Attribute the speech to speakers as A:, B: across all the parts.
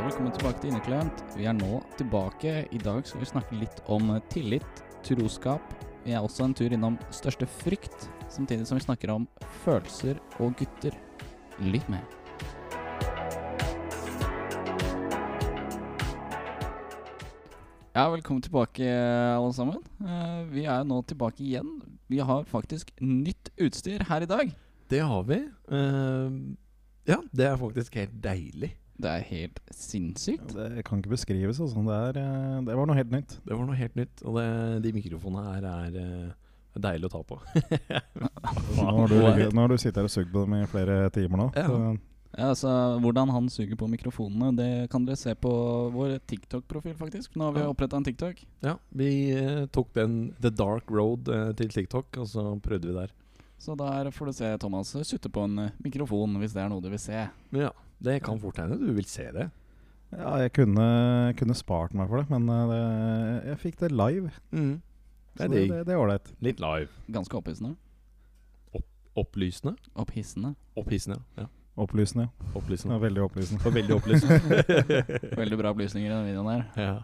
A: Velkommen tilbake til Inneklemt. Vi er nå tilbake. I dag skal vi snakke litt om tillit, troskap. Vi er også en tur innom største frykt, samtidig som vi snakker om følelser og gutter. Lytt med. Ja, velkommen tilbake, alle sammen. Eh, Vi er nå tilbake igjen. Vi har faktisk nytt utstyr her i dag.
B: Det har vi. Eh, ja, det er faktisk helt deilig.
A: Det er helt sinnssykt.
C: Det kan ikke beskrives. Altså. Det, er, eh, det var noe helt nytt.
B: Det var noe helt nytt. Og det, de mikrofonene her er eh, deilig å ta på.
C: Nå har Altså, du, ligget- nå har du sittet her og sugd på dem i flere timer nå.
B: Ja.
C: Så,
A: Ja, altså, Hvordan han suger på mikrofonene, det kan dere se på vår TikTok-profil, faktisk. Nå har vi
B: Ja.
A: oppretta en TikTok.
B: Ja, vi eh, tok den The Dark Road eh, til TikTok, og så prøvde vi der.
A: Så der får du se Thomas sutte på en eh, mikrofon, hvis det er noe du vil se.
B: Men ja, det kan fort hende du vil se det.
C: ja, jeg kunne, kunne spart meg for det, men eh, det, jeg fikk det live.
B: Mm. Det
C: Så
B: er
C: det,
B: digg.
C: det, det er ålreit.
B: Litt live.
A: Ganske opphissende.
B: Opplysende.
A: Opphissende.
B: Opphissende, ja. ja.
C: Opplysende. ja. Det
B: Opplysende.
C: var veldig opplysende.
B: Og veldig opplysende.
A: Veldig bra opplysninger i den videoen der.
B: ja.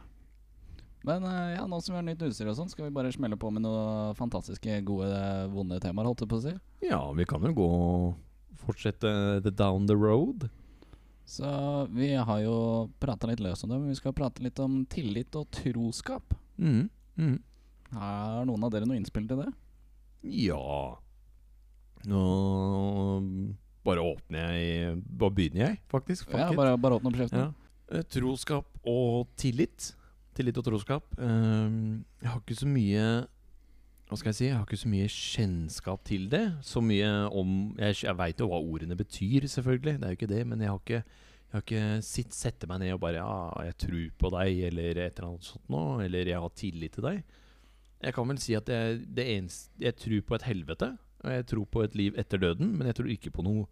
A: Men eh, ja, nå som vi har nytt utstyr og sånn, skal vi bare smelle på med noe fantastiske, gode, vonde temaer, holdt jeg på å si.
B: ja, vi kan jo gå og fortsette the down the road.
A: Så vi har jo prata litt løs om det, men vi skal prate litt om tillit og troskap.
B: Mm. Mm.
A: Har noen av dere noe innspill til det?
B: Ja Nå bare åpner jeg Bare begynner jeg, faktisk. Fuck
A: Ja,
B: it.
A: bare, bare åpne opp kjeften.
B: Ja. Eh, Troskap og tillit. Tillit og troskap. Ehm, Jeg har ikke så mye Hva skal jeg si? Jeg har ikke så mye kjennskap til det. Så mye om Jeg, jeg veit jo hva ordene betyr, selvfølgelig. Det er jo ikke det. Men jeg har ikke, jeg har ikke sitt, sette meg ned og bare Ja, jeg tror på deg, eller et eller annet sånt noe. Eller jeg har tillit til deg. Jeg kan vel si at jeg, det eneste, jeg tror på et helvete. Og jeg tror på et liv etter døden, men jeg tror ikke på noe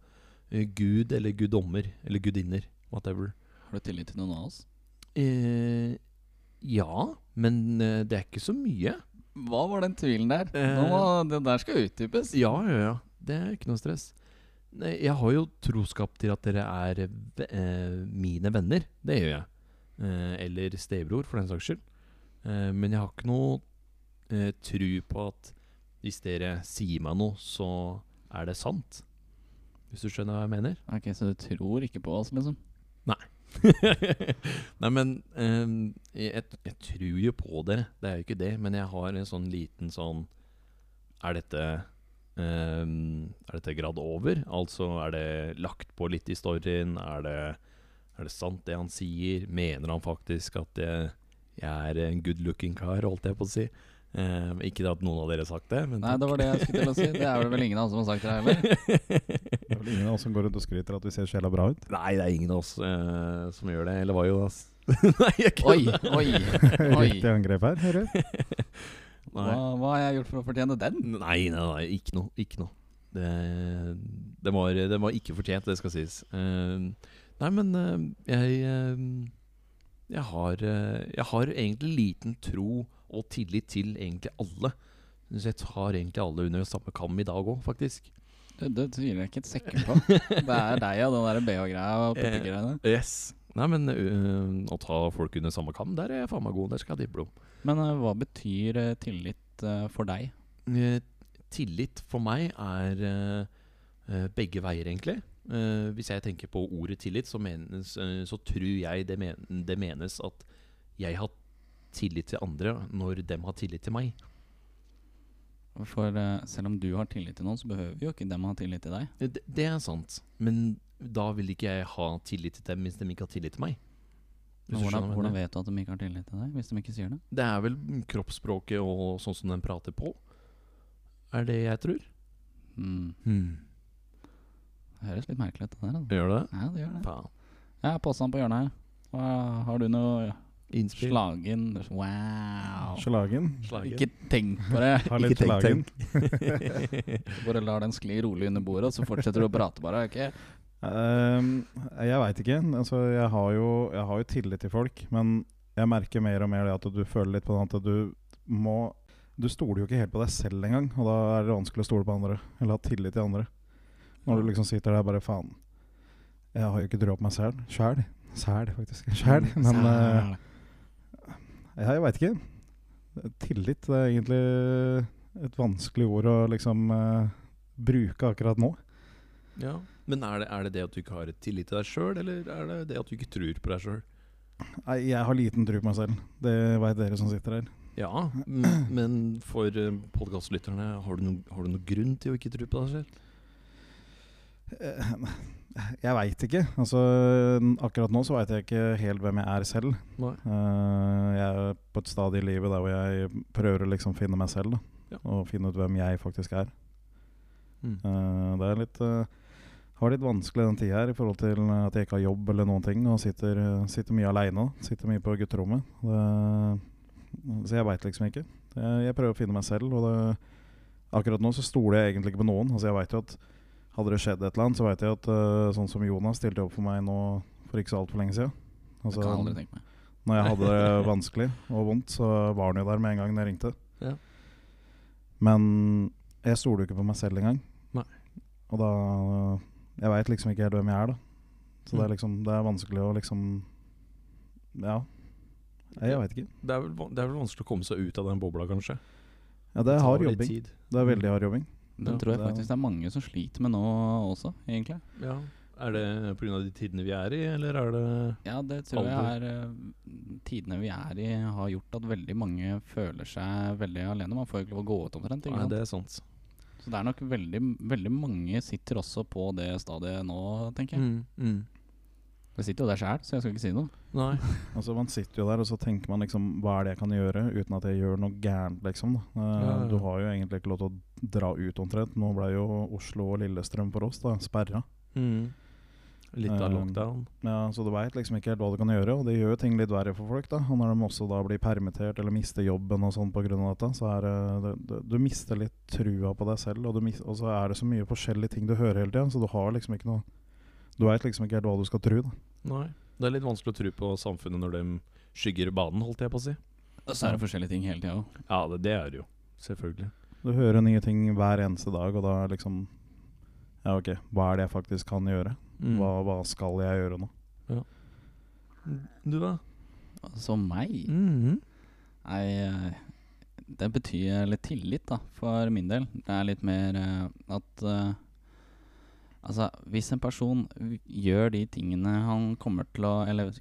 B: eh, gud eller guddommer eller gudinner. Whatever.
A: Har du tillit til noen av oss?
B: Eh, ja, men eh, det er ikke så mye.
A: Hva var den tvilen der?
B: Nå må-
A: det der skal utdypes.
B: Ja, ja, ja. Det er ikke noe stress. Nei, jeg har jo troskap til at dere er eh, ve- eh, mine venner. Det gjør jeg. Eh, eller stebror, for den saks skyld. Eh, men jeg har ikke noe eh, tru på at hvis dere sier meg noe, så er det sant. Hvis du skjønner hva jeg mener?
A: Ok, Så du tror ikke på oss, liksom?
B: Nei, men ehm, jeg, jeg tror jo på dere, det er jo ikke det. Men jeg har en sånn liten sånn Er dette ehm, Er dette grad over? Altså, er det lagt på litt i storyen? Er det, er det sant, det han sier? Mener han faktisk at jeg, jeg er en good looking kar, holdt jeg på å si? Ehm, ikke at noen av dere har sagt det, men
A: Nei, det var det jeg skulle til å si. Det er det vel ingen av oss som har sagt det heller.
C: Det er vel ingen av oss som går rundt og skryter at vi ser sjela bra ut.
B: Nei, det er ingen av oss eh, som gjør det. Eller var jo det, ass. Nei, jeg
A: Oi,
B: kødder.
A: oi. Oi.
C: Riktig angrep her, hører jeg.
A: Hva, hva har jeg gjort for å fortjene den?
B: Nei, nei, nei, ikke noe. Ikke noe. Det, det, var, det var ikke fortjent, det skal sies. Eh, nei, men eh, jeg eh, jeg, har, eh, jeg har egentlig liten tro og tillit til egentlig alle. Så jeg tar egentlig alle under samme kam i dag òg, faktisk.
A: Det, det tviler jeg ikke et sekund på. Det er deg og den der BH-greia og pupegreiene.
B: Yes. Nei, men eh, å ta folk under samme kam, der er jeg faen meg god. Der skal jeg ha diplom.
A: Men eh, hva betyr eh, tillit eh, for deg?
B: Eh, tillit for meg er eh, eh, begge veier, egentlig. Eh, hvis jeg tenker på ordet tillit, så, menes, eh, så tror jeg det, men, det menes at jeg har tillit til andre når dem har tillit til meg.
A: For eh, selv om du har tillit til noen, så behøver jo ikke dem ha tillit til deg.
B: Eh, Det, det er sant, men da vil ikke jeg ha tillit til dem hvis de ikke har tillit til meg. Hvis
A: Men
B: du
A: hvordan,
B: skjønner hva jeg
A: hvordan
B: mener.
A: vet du at de ikke har tillit til deg, hvis de ikke sier det?
B: Det er vel kroppsspråket og sånn som de prater på, er det jeg tror.
A: Hmm. Det høres litt merkelig ut, det der. da.
B: Gjør det?
A: Ja, det gjør det.
B: Faen.
A: Jeg har påstand på hjørnet her. Hva, har du noe
B: Innspill.
A: slagen Wow.
C: Slagen.
A: Ikke tenk på det.
C: Har litt
B: Ikke tenk,
C: slagen.
A: Bare lar den skli rolig under bordet, og så fortsetter du å prate bare. ok?
C: Ehm, jeg veit ikke. Altså, jeg, har jo, jeg har jo tillit til folk, men jeg merker mer og mer det at du føler litt på det at du må Du stoler jo ikke helt på deg selv engang, og da er det vanskelig å stole på andre. Eller ha tillit til andre. Når du liksom sitter der bare Faen, jeg har jo ikke trua på meg selv. Sjæl. Sæl, faktisk. Sjæl. Men eh, jeg veit ikke. Tillit det er egentlig et vanskelig ord å liksom eh, bruke akkurat nå.
B: Ja. Men er det, er det det at du ikke har tillit til deg sjøl, eller er det det at du ikke tror på deg sjøl?
C: Nei, jeg har liten tro på meg selv. Det veit dere som sitter her.
B: Ja, m- men for podkastlytterne, har, du noen- har du noen grunn til å ikke tro på deg selv?
C: Eh, Jeg veit ikke. Altså, akkurat nå så veit jeg ikke helt hvem jeg er selv.
B: Nei.
C: Eh, jeg er på et stadium i livet der hvor jeg prøver å liksom finne meg selv. Da,
B: Ja.
C: Og finne ut hvem jeg faktisk er.
B: Mm.
C: Eh, det er litt eh, har litt vanskelig den tida her i forhold til eh, at jeg ikke har jobb eller noen ting. Og sitter, eh, sitter mye aleine. Sitter mye på gutterommet. Det, så jeg veit liksom ikke. Jeg, jeg prøver å finne meg selv. Og det, akkurat nå så stoler jeg egentlig ikke på noen. Altså jeg vet jo at Hadde det skjedd et eller annet, så veit jeg at eh, sånn som Jonas stilte opp for meg nå for ikke så altfor lenge siden.
A: Det
C: Altså,
A: kan jeg aldri tenke meg.
C: når jeg hadde det vanskelig og vondt, så var han jo der med en gang når jeg ringte.
B: Ja.
C: Men jeg stoler jo ikke på meg selv engang.
B: Nei.
C: Og da Jeg veit liksom ikke helt hvem jeg er, da. Så det
B: Mm.
C: er liksom Det er vanskelig å liksom Ja. Jeg, jeg veit ikke.
B: Det er, vel, van- det er vel vanskelig å komme seg ut av den bobla, kanskje.
C: Ja, det er
B: tar
C: hard
B: litt
C: jobbing.
B: tid. Mm.
C: Det er veldig hard jobbing.
A: Det
B: Ja,
A: tror jeg
C: det er-
A: faktisk det er mange som sliter med nå også, egentlig.
B: Ja. Er det pga. de tidene vi er i, eller er det
A: Ja, det tror jeg er
B: Alder.
A: eh, Tidene vi er i, har gjort at veldig mange føler seg veldig alene. Man får jo ikke lov å gå ut omtrent. Ikke
B: Nei,
A: sant?
B: det er sant.
A: Så det er nok veldig, veldig mange sitter også på det stadiet nå, tenker jeg.
B: Mm, mm.
A: Jeg sitter jo der sjæl, så jeg skal ikke si noe.
B: Nei.
C: Altså Man sitter jo der og så tenker man liksom Hva er det jeg kan gjøre uten at jeg gjør noe gærent, liksom? da
B: Ja,
C: Eh,
B: ja, ja.
C: Du har jo egentlig ikke lov til å dra ut omtrent. Nå ble jo Oslo og Lillestrøm for oss da sperra.
B: Mm. Litt av
C: Um,
B: lockdown.
C: Ja, Så du veit liksom ikke helt hva du kan gjøre, og det gjør jo ting litt verre for folk. da Og når de også da blir permittert eller mister jobben og sånn pga. dette, så er det, det Du mister litt trua på deg selv, og, du mis, og så er det så mye forskjellige ting du hører hele tida, så du har liksom ikke noe Du veit liksom ikke helt hva du skal tro. da
B: Nei. Det er litt vanskelig å tro på samfunnet når de skygger banen, holdt jeg på å si.
A: Og så er det forskjellige ting hele tida òg.
B: Ja, det, det er det jo. Selvfølgelig.
C: Du hører nye ting hver eneste dag, og da er liksom Ja, ok, hva er det jeg faktisk kan gjøre?
B: Mm.
C: Hva, hva skal jeg gjøre nå?
B: Du, da? Mhm.
A: Så meg Nei, eh, det betyr litt tillit da, for min del. Det er litt mer eh, at eh, Altså, hvis en person v- gjør de tingene han kommer til å Eller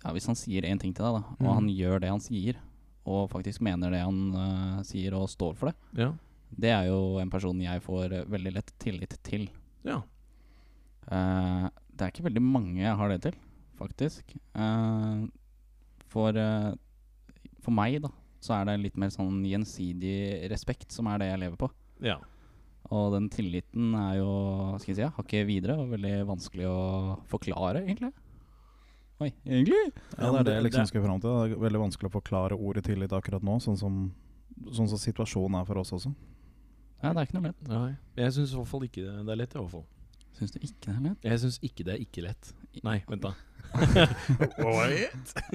A: ja, hvis han sier én ting til deg, da, og
B: Mhm.
A: han gjør det han sier, og faktisk mener det han eh, sier og står for det,
B: Ja.
A: det er jo en person jeg får eh, veldig lett tillit til.
B: ja.
A: Eh, det er ikke veldig mange jeg har det til, faktisk. Eh, for, eh, for meg, da, så er det litt mer sånn gjensidig respekt som er det jeg lever på.
B: Ja.
A: Og den tilliten er jo, skal jeg si, ja, hakket videre og veldig vanskelig å forklare, egentlig. Oi, egentlig?
C: Ja, det er det jeg liksom skal fram til. Det er veldig vanskelig å forklare ordet tillit akkurat nå, sånn som, sånn som situasjonen er for oss også.
A: Nei, det er ikke noe lett.
B: Nei. Jeg syns i hvert fall ikke det, det er lett. i hvert fall
A: Syns du ikke det er lett?
B: Jeg syns ikke det er ikke lett. Nei, vent, da.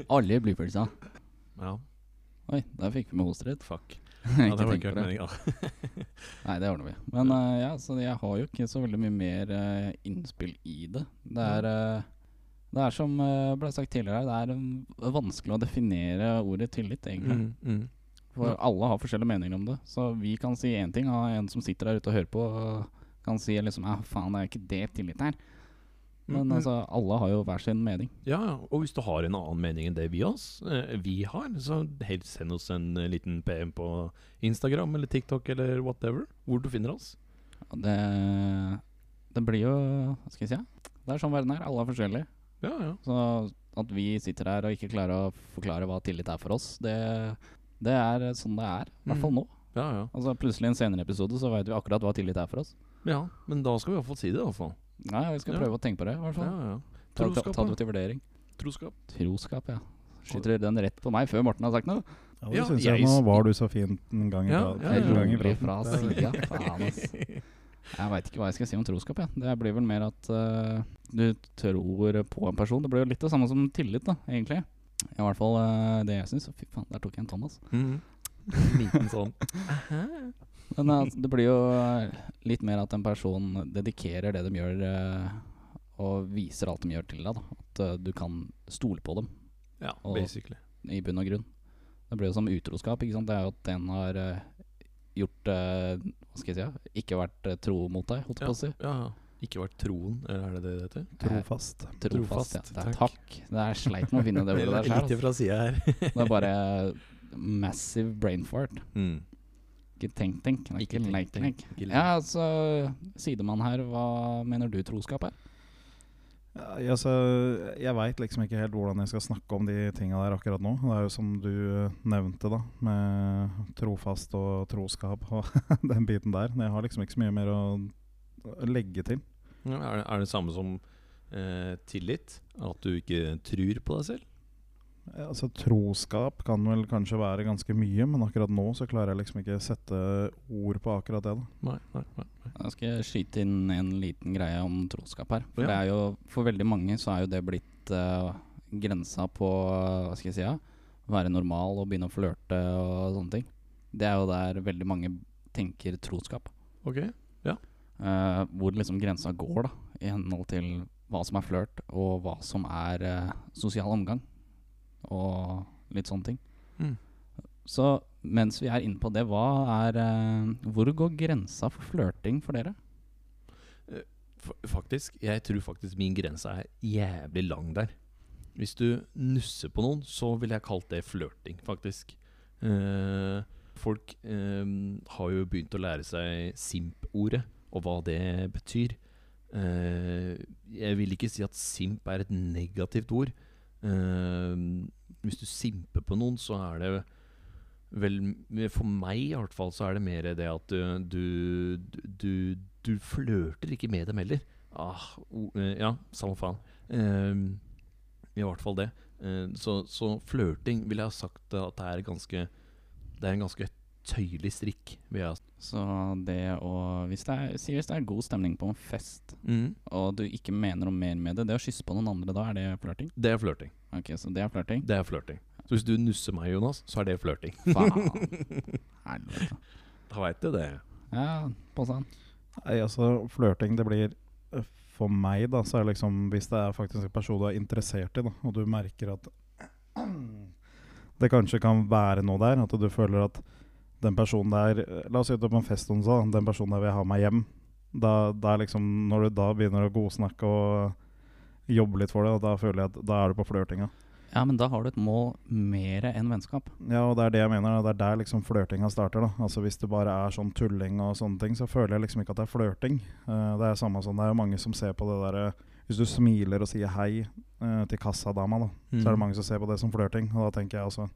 A: Alle blir følelser.
B: Ja,
A: Oi, der fikk vi med hosterett.
B: fuck. Ja,
A: ikke
B: det var
A: tenk
B: ikke
A: på
B: helt
A: det.
B: meninga.
A: Nei, det ordner vi. Men eh, ja, så jeg har jo ikke så veldig mye mer eh, innspill i det. Det er, eh, det er som uh, ble sagt tidligere, her, det er eh, vanskelig å definere ordet tillit, egentlig.
B: Mm, mm.
A: For alle har forskjellige meninger om det. Så vi kan si én ting, og en som sitter der ute og hører på, eh, kan si liksom Ja, faen, det er ikke det tillit her. Men
B: Mm.
A: altså, alle har jo hver sin mening.
B: Ja, ja. og hvis du har en annen mening enn det vi, oss, eh, vi har, så helst send oss en eh, liten PM på Instagram eller TikTok eller whatever, hvor du finner oss.
A: Og det, det blir jo Hva skal jeg si? Ja? Det er sånn verden er. Alle er forskjellige.
B: Ja, ja.
A: Så at vi sitter her og ikke klarer å forklare hva tillit er for oss, det, det er sånn det er. I hvert fall nå.
B: ja, ja.
A: Altså Plutselig i en senere episode så veit vi akkurat hva tillit er for oss.
B: ja men da skal vi iallfall si det, iallfall.
A: Nei, Vi skal
B: Ja.
A: prøve å tenke på det. i hvert
B: Ja,
A: fall
B: ja.
A: ta, ta,
B: Troskap,
A: ta
B: da.
A: det til vurdering.
B: Troskap.
A: Troskap, ja. Skyter den rett på meg før Morten har sagt noe?
C: Ja, det
B: Ja,
C: synes
B: jeg
C: jeg. Nå
B: s-
C: var du så fint en gang i
B: Ja,
C: praten.
B: ja, ja.
C: En gang i
A: Rolig
C: praten.
A: fra sida. Faen, ass. Jeg veit ikke hva jeg skal si om troskap. Jeg. Det blir vel mer at eh, du tror på en person. Det blir jo litt det samme som tillit, da, egentlig. I hvert fall eh, det jeg syns. Fy faen, der tok jeg en Thomas.
B: Mm. Liten sånn.
A: Men eh, altså, det blir jo eh, litt mer at en person dedikerer det de gjør, eh, og viser alt de gjør til deg. Da. At eh, du kan stole på dem,
B: Ja,
A: Og-
B: basically.
A: i bunn og grunn. Det blir jo som utroskap. ikke sant? Det er jo at en har eh, gjort eh, Hva skal jeg si? ja? Ikke vært eh, tro mot deg, holdt jeg på å si.
B: Ja, ja. Ikke vært troen, eller er det det det heter?
C: Trofast.
A: Trofast.
B: Trofast,
A: ja. Det er takk. Det er sleit med å vinne det ordet der
B: Litt
A: selv,
B: fra sida her.
A: altså. Det er bare massive brain fart.
B: Mm.
A: Ikke tenk, tenk. det er
B: Ikke
A: Ikke
B: tenk,
A: leik,
B: tenk.
A: tenk.
B: Ikke leik.
A: Ja, altså, sidemann her, hva mener du troskap er?
C: Ja, altså, jeg veit liksom ikke helt hvordan jeg skal snakke om de tinga der akkurat nå. Det er jo som du eh, nevnte, da, med trofast og troskap og den biten der. Men Jeg har liksom ikke så mye mer å legge til.
B: Ja, Er, det, er det samme som eh, tillit? At du ikke tror på deg selv?
C: Eh, Altså, troskap kan vel kanskje være ganske mye, men akkurat nå så klarer jeg liksom ikke sette ord på akkurat det. da
B: Nei, nei, nei.
A: Jeg skal skyte inn en liten greie om troskap her. For,
B: Ja.
A: det er jo, for veldig mange så er jo det blitt eh, grensa på eh, Hva skal jeg si? Ja? Være normal og begynne å flørte og sånne ting. Det er jo der veldig mange tenker troskap.
B: Ok.
A: Eh, hvor liksom grensa går, da. I henhold til hva som er flørt, og hva som er eh, sosial omgang. Og litt sånne ting.
B: Mm.
A: Så mens vi er inne på det, hva er eh, Hvor går grensa for flørting for dere?
B: F faktisk, jeg tror faktisk min grense er jævlig lang der. Hvis du nusser på noen, så ville jeg kalt det flørting, faktisk. Eh, folk eh, har jo begynt å lære seg simp-ordet, og hva det betyr. Eh, jeg vil ikke si at simp er et negativt ord. Eh, hvis du simper på noen, så er det vel For meg i hvert fall, så er det mer det at eh, du, du, du flørter ikke med dem heller. Ah, o- eh, ja, samme faen. Eh, I hvert fall det. Eh, så så flørting vil jeg ha sagt at det er ganske Det er en ganske tøyelig strikk. Vil jeg ha sagt.
A: Så det å hvis det, er, si hvis det er god stemning på en fest,
B: Mm.
A: og du ikke mener noe mer med det Det å kysse på noen andre da, er det flørting?
B: Det er flørting.
A: Ok, så det er flørting?
B: Det er flørting. Så hvis du nusser meg, Jonas, så er det flørting.
A: Faen. Helvete.
B: Da veit du det.
A: Ja, påstand.
C: Nei, altså Flørting det blir eh, for meg, da, så er det liksom hvis det er faktisk en person du er interessert i, da, og du merker at det kanskje kan være noe der, at du føler at den personen der eh, La oss si at du er på en fest og sa den personen der vil ha meg hjem. Da, da er liksom, når du da begynner å godsnakke og jobbe litt for det, da føler jeg at da er du på flørtinga.
A: Ja, men da har du et mål mer enn vennskap.
C: Ja, og det er det jeg mener. da. Det er der liksom flørtinga starter. da Altså Hvis det bare er sånn tulling og sånne ting, så føler jeg liksom ikke at det er flørting. Eh, det er samme som det er jo mange som ser på det derre Hvis du smiler og sier hei eh, til kassadama, da,
B: Mm.
C: så er det mange som ser på det som flørting. Og da tenker jeg altså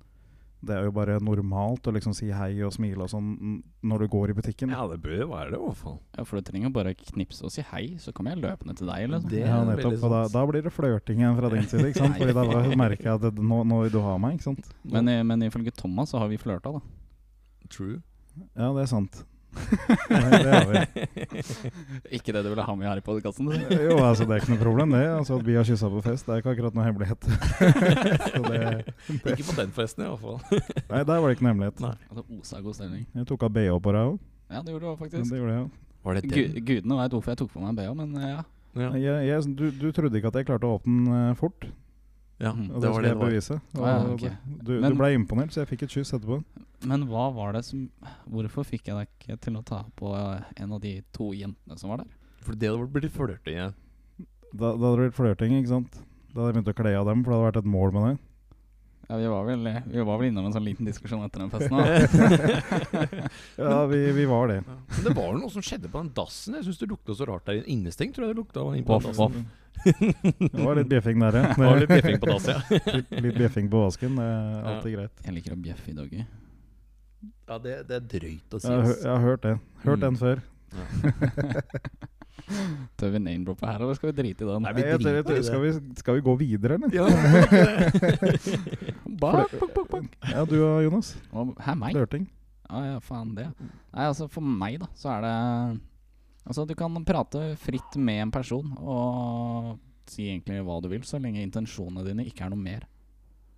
C: Det er jo bare normalt å liksom si hei og smile og sånn n- når du går i butikken.
B: Ja, det bør være det, i hvert fall.
A: Ja, For du trenger jo bare knipse og si hei, så kommer jeg løpende til deg. Liksom.
B: Det er
C: ja,
B: veldig
C: nettopp. Og da,
B: sant.
C: da blir det flørting igjen fra din side. Ikke sant? Fordi da
A: Nei.
C: merker jeg at det, nå, nå vil du ha meg. Ikke sant?
A: Men, i- men ifølge Thomas så har vi flørta, da.
B: True.
C: Ja, det er sant. Nei, det har vi.
A: Ikke det du ville ha med her i podkasten.
C: Jo, altså det er ikke noe problem, det. Altså At vi har kyssa på fest, det er ikke akkurat noe hemmelighet. Så det,
B: Ikke på den festen, i hvert fall.
C: nei, der var det ikke noe hemmelighet.
A: Det Altså, osa god stemning.
C: Jeg tok av BH på deg òg.
A: Ja, det gjorde du
C: Det
A: faktisk.
C: gjorde jeg
B: Var det
A: Gu- Gudene veit hvorfor jeg tok på meg BH, men eh, ja.
B: Ja,
C: òg. Jeg, jeg, du, du trodde ikke at jeg klarte å åpne den eh, fort,
B: ja
A: Mm.
B: det
C: og det,
B: var
C: skulle
B: det
C: Altså, jeg
B: det var.
C: bevise. Og
A: Ah, ja, ok.
C: Du,
A: Men-
C: du ble imponert, så jeg fikk et kyss etterpå.
A: Men hva var det som Hvorfor fikk jeg deg ikke til å ta på eh, en av de to jentene som var der?
B: For det hadde blitt flørting. Ja.
C: Da, da hadde det blitt flørting, ikke sant? Da hadde jeg begynt å kle av dem, for det hadde vært et mål med det.
A: Ja, Vi var vel, vi var vel innom en sånn liten diskusjon etter den festen. da.
C: Ja, vi, vi var det.
B: Men det var noe som skjedde på den dassen. Jeg syns det lukta så rart der inne. Innestengt, tror jeg det lukta. Var inne på
A: Voff,
B: den dassen.
A: voff.
C: Det var litt bjeffing der, ja.
B: Det var litt bjeffing på dass, ja.
C: Litt, litt bjeffing på vasken. Det er alltid greit.
A: Jeg liker å bjeffe i doggy.
B: ja det, det er drøyt å si.
C: Jeg, har hø- jeg har hørt det.
A: Mm.
C: Hørt den før.
A: Tør vi name-droppe her, eller skal vi drite i den?
B: Nei, vi
C: Jeg- jeg-
B: driter i det.
C: Skal vi, skal vi gå videre, eller?
B: Ja.
A: Bak, bak, bak, bak.
C: Ja, du og Jonas.
A: Å, Hæ, meg?
C: Flørting.
A: Ja, ja, faen det. Nei, altså for meg da, så er det Altså du kan prate fritt med en person og si egentlig hva du vil, så lenge intensjonene dine ikke er noe mer.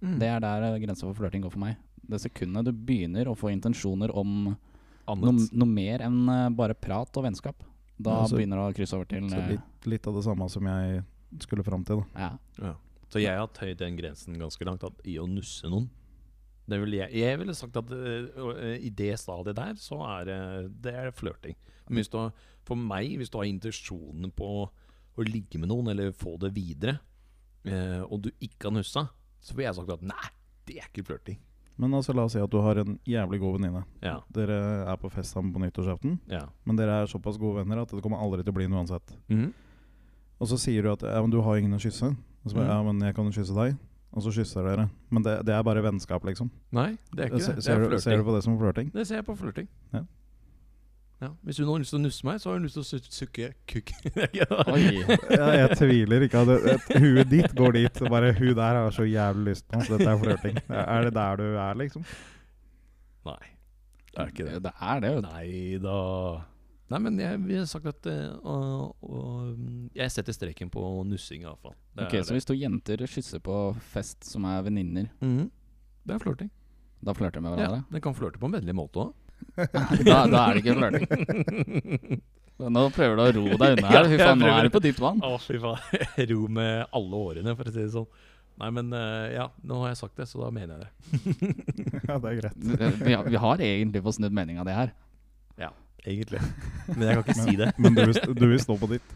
B: Mm.
A: Det er der eh, grensa for flørting går for meg. Det sekundet du begynner å få intensjoner om noe,
B: Annet.
A: noe mer enn eh, bare prat og vennskap, da
C: Ja, så-
A: begynner det å krysse over til
C: Så
A: eh,
C: litt, litt av det samme som jeg skulle fram til. da
A: Ja.
B: Så jeg har tøyd den grensen ganske langt at i å nusse noen. Det ville jeg, jeg ville sagt at eh, å- eh, i det stadiet der, så er det, det er flørting. Men hvis du har, for meg, hvis du har intensjonen på å ligge med noen, eller få det videre, eh, og du ikke har nussa, så ville jeg sagt at nei, det er ikke flørting.
C: Men altså, la oss si at du har en jævlig god venninne.
B: Ja,
C: Dere er på fest sammen på nyttårsaften,
B: ja.
C: men dere er såpass gode venner at det kommer aldri til å bli noe uansett. Og så sier du at ja, men du har ingen å kysse. Og så bare,
B: Mhm.
C: ja, men jeg kan jo kysse deg. Og så kysser dere. Men det, det er bare vennskap, liksom.
B: Nei, det er ikke
C: Se-
B: det. Det
C: ser,
B: er
C: du, ser du
B: flørting.
C: på det som flørting?
B: Det ser jeg på flørting.
C: Ja.
B: Ja, Hvis hun har lyst til å nusse meg, så har hun lyst til å su- sukke kukk. ja.
A: Oi.
C: Ja, jeg tviler ikke. at det- at Huet ditt går dit. og Bare hun der har så jævlig lyst på, så dette er flørting. Er det der du er, liksom?
B: Nei, det er ikke det.
A: Det er det, vet du.
B: Nei da. Nei, men jeg ville sagt at eh, å- å- Jeg setter streken på nussing, iallfall. Det,
A: Ok,
B: er
A: så
B: det.
A: hvis to jenter kysser på fest som er venninner,
B: Mhm. det er flørting.
A: da flørter de med
B: Ja,
A: hverandre?
B: den kan flørte på en vennlig måte òg.
A: da, da er det ikke flørting. Nå prøver du å ro deg unna her. Fy
B: Ja, jeg
A: faen, nå
B: prøver.
A: er du på dypt vann.
B: Å, fy faen. Ro med alle årene, for å si det sånn. Nei, men eh, ja, nå har jeg sagt det, så da mener jeg det.
C: Ja, det er greit.
A: Vi, har- vi har egentlig fått snudd mening av det her.
B: Egentlig. Men jeg kan ikke si det.
C: Men du, vil st- du vil stå på ditt.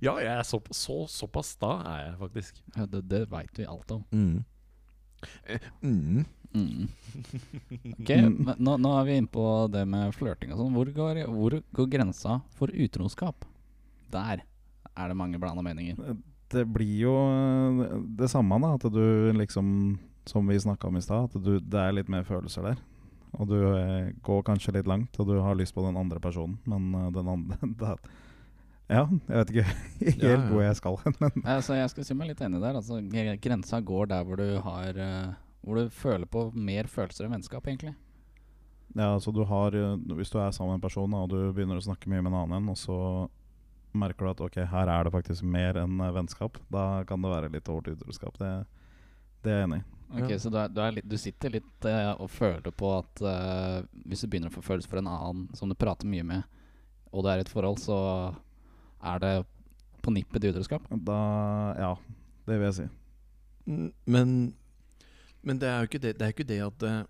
B: Ja, jeg er så, så, såpass da er jeg faktisk.
A: Ja, Det, det veit vi alt om.
B: Eh, Mm.
A: Mm. Ok,
C: Mm.
A: men nå, nå er vi inne på det med flørting og sånn. Hvor, går- hvor går grensa for utroskap? Der er det mange blanda meninger.
C: Det blir jo eh, det samme, da. At du liksom, som vi snakka om i stad, at du, det er litt mer følelser der. Og du eh, går kanskje litt langt, og du har lyst på den andre personen, men eh, den andre det, Ja, jeg vet ikke helt
B: Ja, ja.
C: hvor jeg skal hen, men
A: Eh, Så jeg skal si meg litt enig der. Altså, gre- grensa går der hvor du har eh, Hvor du føler på mer følelser enn vennskap, egentlig.
C: Ja, altså du har eh, Hvis du er sammen med en person da, og du begynner å snakke mye med en annen, og så merker du at ok, her er det faktisk mer enn eh, vennskap, da kan det være litt over til utroskap. Det, det er jeg enig i.
A: Ok,
B: Ja.
A: Så du, er, du, er litt, du sitter litt eh, og føler på at eh, hvis du begynner å få følelser for en annen som du prater mye med, og det er et forhold, så er det på nippet til utroskap?
C: Da Ja, det vil jeg si.
B: Mm, Men, men det er jo ikke det, det, er jo ikke det at eh,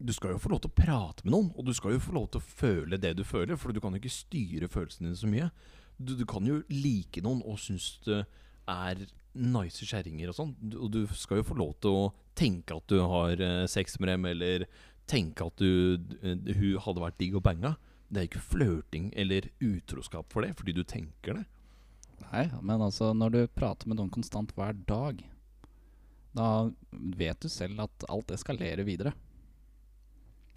B: Du skal jo få lov til å prate med noen, og du skal jo få lov til å føle det du føler, for du kan jo ikke styre følelsene dine så mye. Du, du kan jo like noen og synes det er nice kjerringer og sånn, Du- og du skal jo få lov til å tenke at du har eh, sex med dem, eller tenke at du, eh, hun hadde vært digg og banga. Det er jo ikke flørting eller utroskap for det, fordi du tenker det.
A: Nei, men altså når du prater med noen konstant hver dag, da vet du selv at alt eskalerer videre.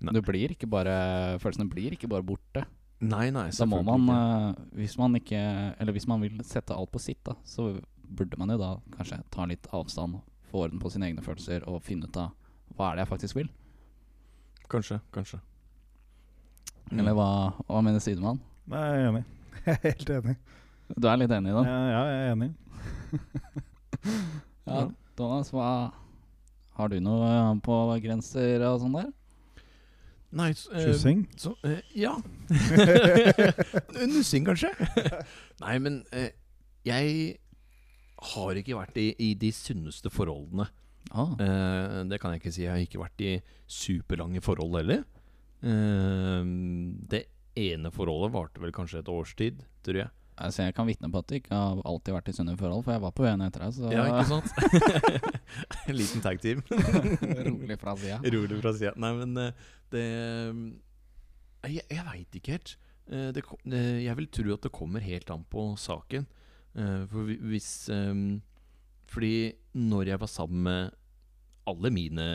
B: Nei.
A: Du blir ikke bare, følelsene blir ikke bare borte.
B: Nei, nei,
A: Da må
B: selvfølgelig
A: man,
B: ikke.
A: eh, hvis man ikke Eller hvis man vil sette alt på sitt, da, så burde man jo da kanskje ta litt avstand, få orden på sine egne følelser og finne ut av hva er det jeg faktisk vil?
B: Kanskje, kanskje. Mm.
A: Eller hva, hva mener sidemann?
C: Nei, jeg er enig. Jeg er helt enig.
A: Du er litt enig i
C: Ja,
A: det?
C: ja jeg er enig.
A: Ja. Thomas, hva Har du noe eh, på grenser og sånn der?
B: Nei, s- eh,
C: Kyssing?
B: så, eh, ja. Nussing, kanskje? Nei, men eh, jeg har ikke vært i, i de sunneste forholdene.
A: Ah,
B: Eh, det kan jeg ikke si. Jeg har ikke vært i superlange forhold heller. Eh, det ene forholdet varte vel kanskje et års tid, tror jeg.
A: altså jeg kan vitne på at du ikke har alltid vært i sunne forhold, for jeg var på øyene etter deg, så
B: Ja, ikke sant? en liten tag team.
A: rolig fra sida.
B: Rolig fra sida. Nei, men eh, det Nei, Jeg, jeg veit ikke helt. Eh, Det, ko- eh, jeg vil tro at det kommer helt an på saken. Eh, For hvi- hvis eh, Fordi når jeg var sammen med alle mine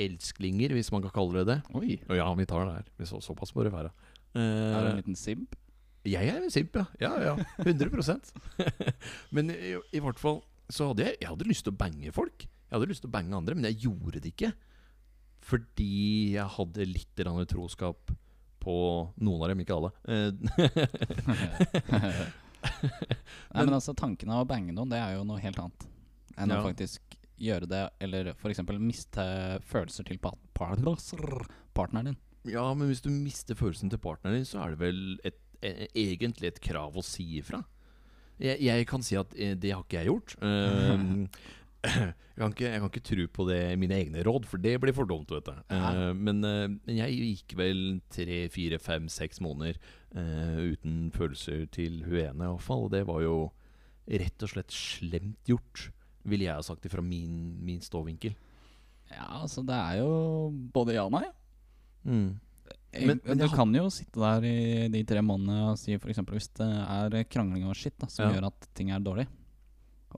B: elsklinger, hvis man kan kalle det det
A: Oi,
B: Å ja, vi tar det her. Vi så, såpass må det være.
A: er du
B: Eh,
A: en liten simp?
B: jeg er en simp, ja. Ja, ja. 100 Men i, i hvert fall så hadde jeg Jeg hadde lyst til å bange folk. Jeg hadde lyst til å bange andre, men jeg gjorde det ikke. Fordi jeg hadde litt grann troskap på noen av dem, ikke alle. Eh,
A: Nei, men
B: Men-
A: altså tanken av å bange noen, det er jo noe helt annet enn å
B: Ja.
A: faktisk gjøre det, eller f.eks. miste følelser til pa- partner- partneren din.
B: ja, men hvis du mister følelsen til partneren din, så er det vel et, e- egentlig et krav å si ifra. Jeg, jeg kan si at eh, det har ikke jeg gjort. Ehm, jeg, kan ikke, jeg kan ikke tro på det mine egne råd, for det blir for dumt. Vet du.
A: Ja.
B: Eh, men, eh, men jeg gikk vel tre, fire, fem, seks måneder eh, uten følelser til hun ene, iallfall. Og det var jo rett og slett slemt gjort, ville jeg ha sagt det fra min, min ståvinkel.
A: Ja, altså det er jo både ja og nei.
B: Mm. Men- men
A: du
B: jeg har-
A: kan jo sitte der i de tre månedene og si f.eks. hvis det er krangling og shit da, som
B: Ja.
A: gjør at ting er dårlig,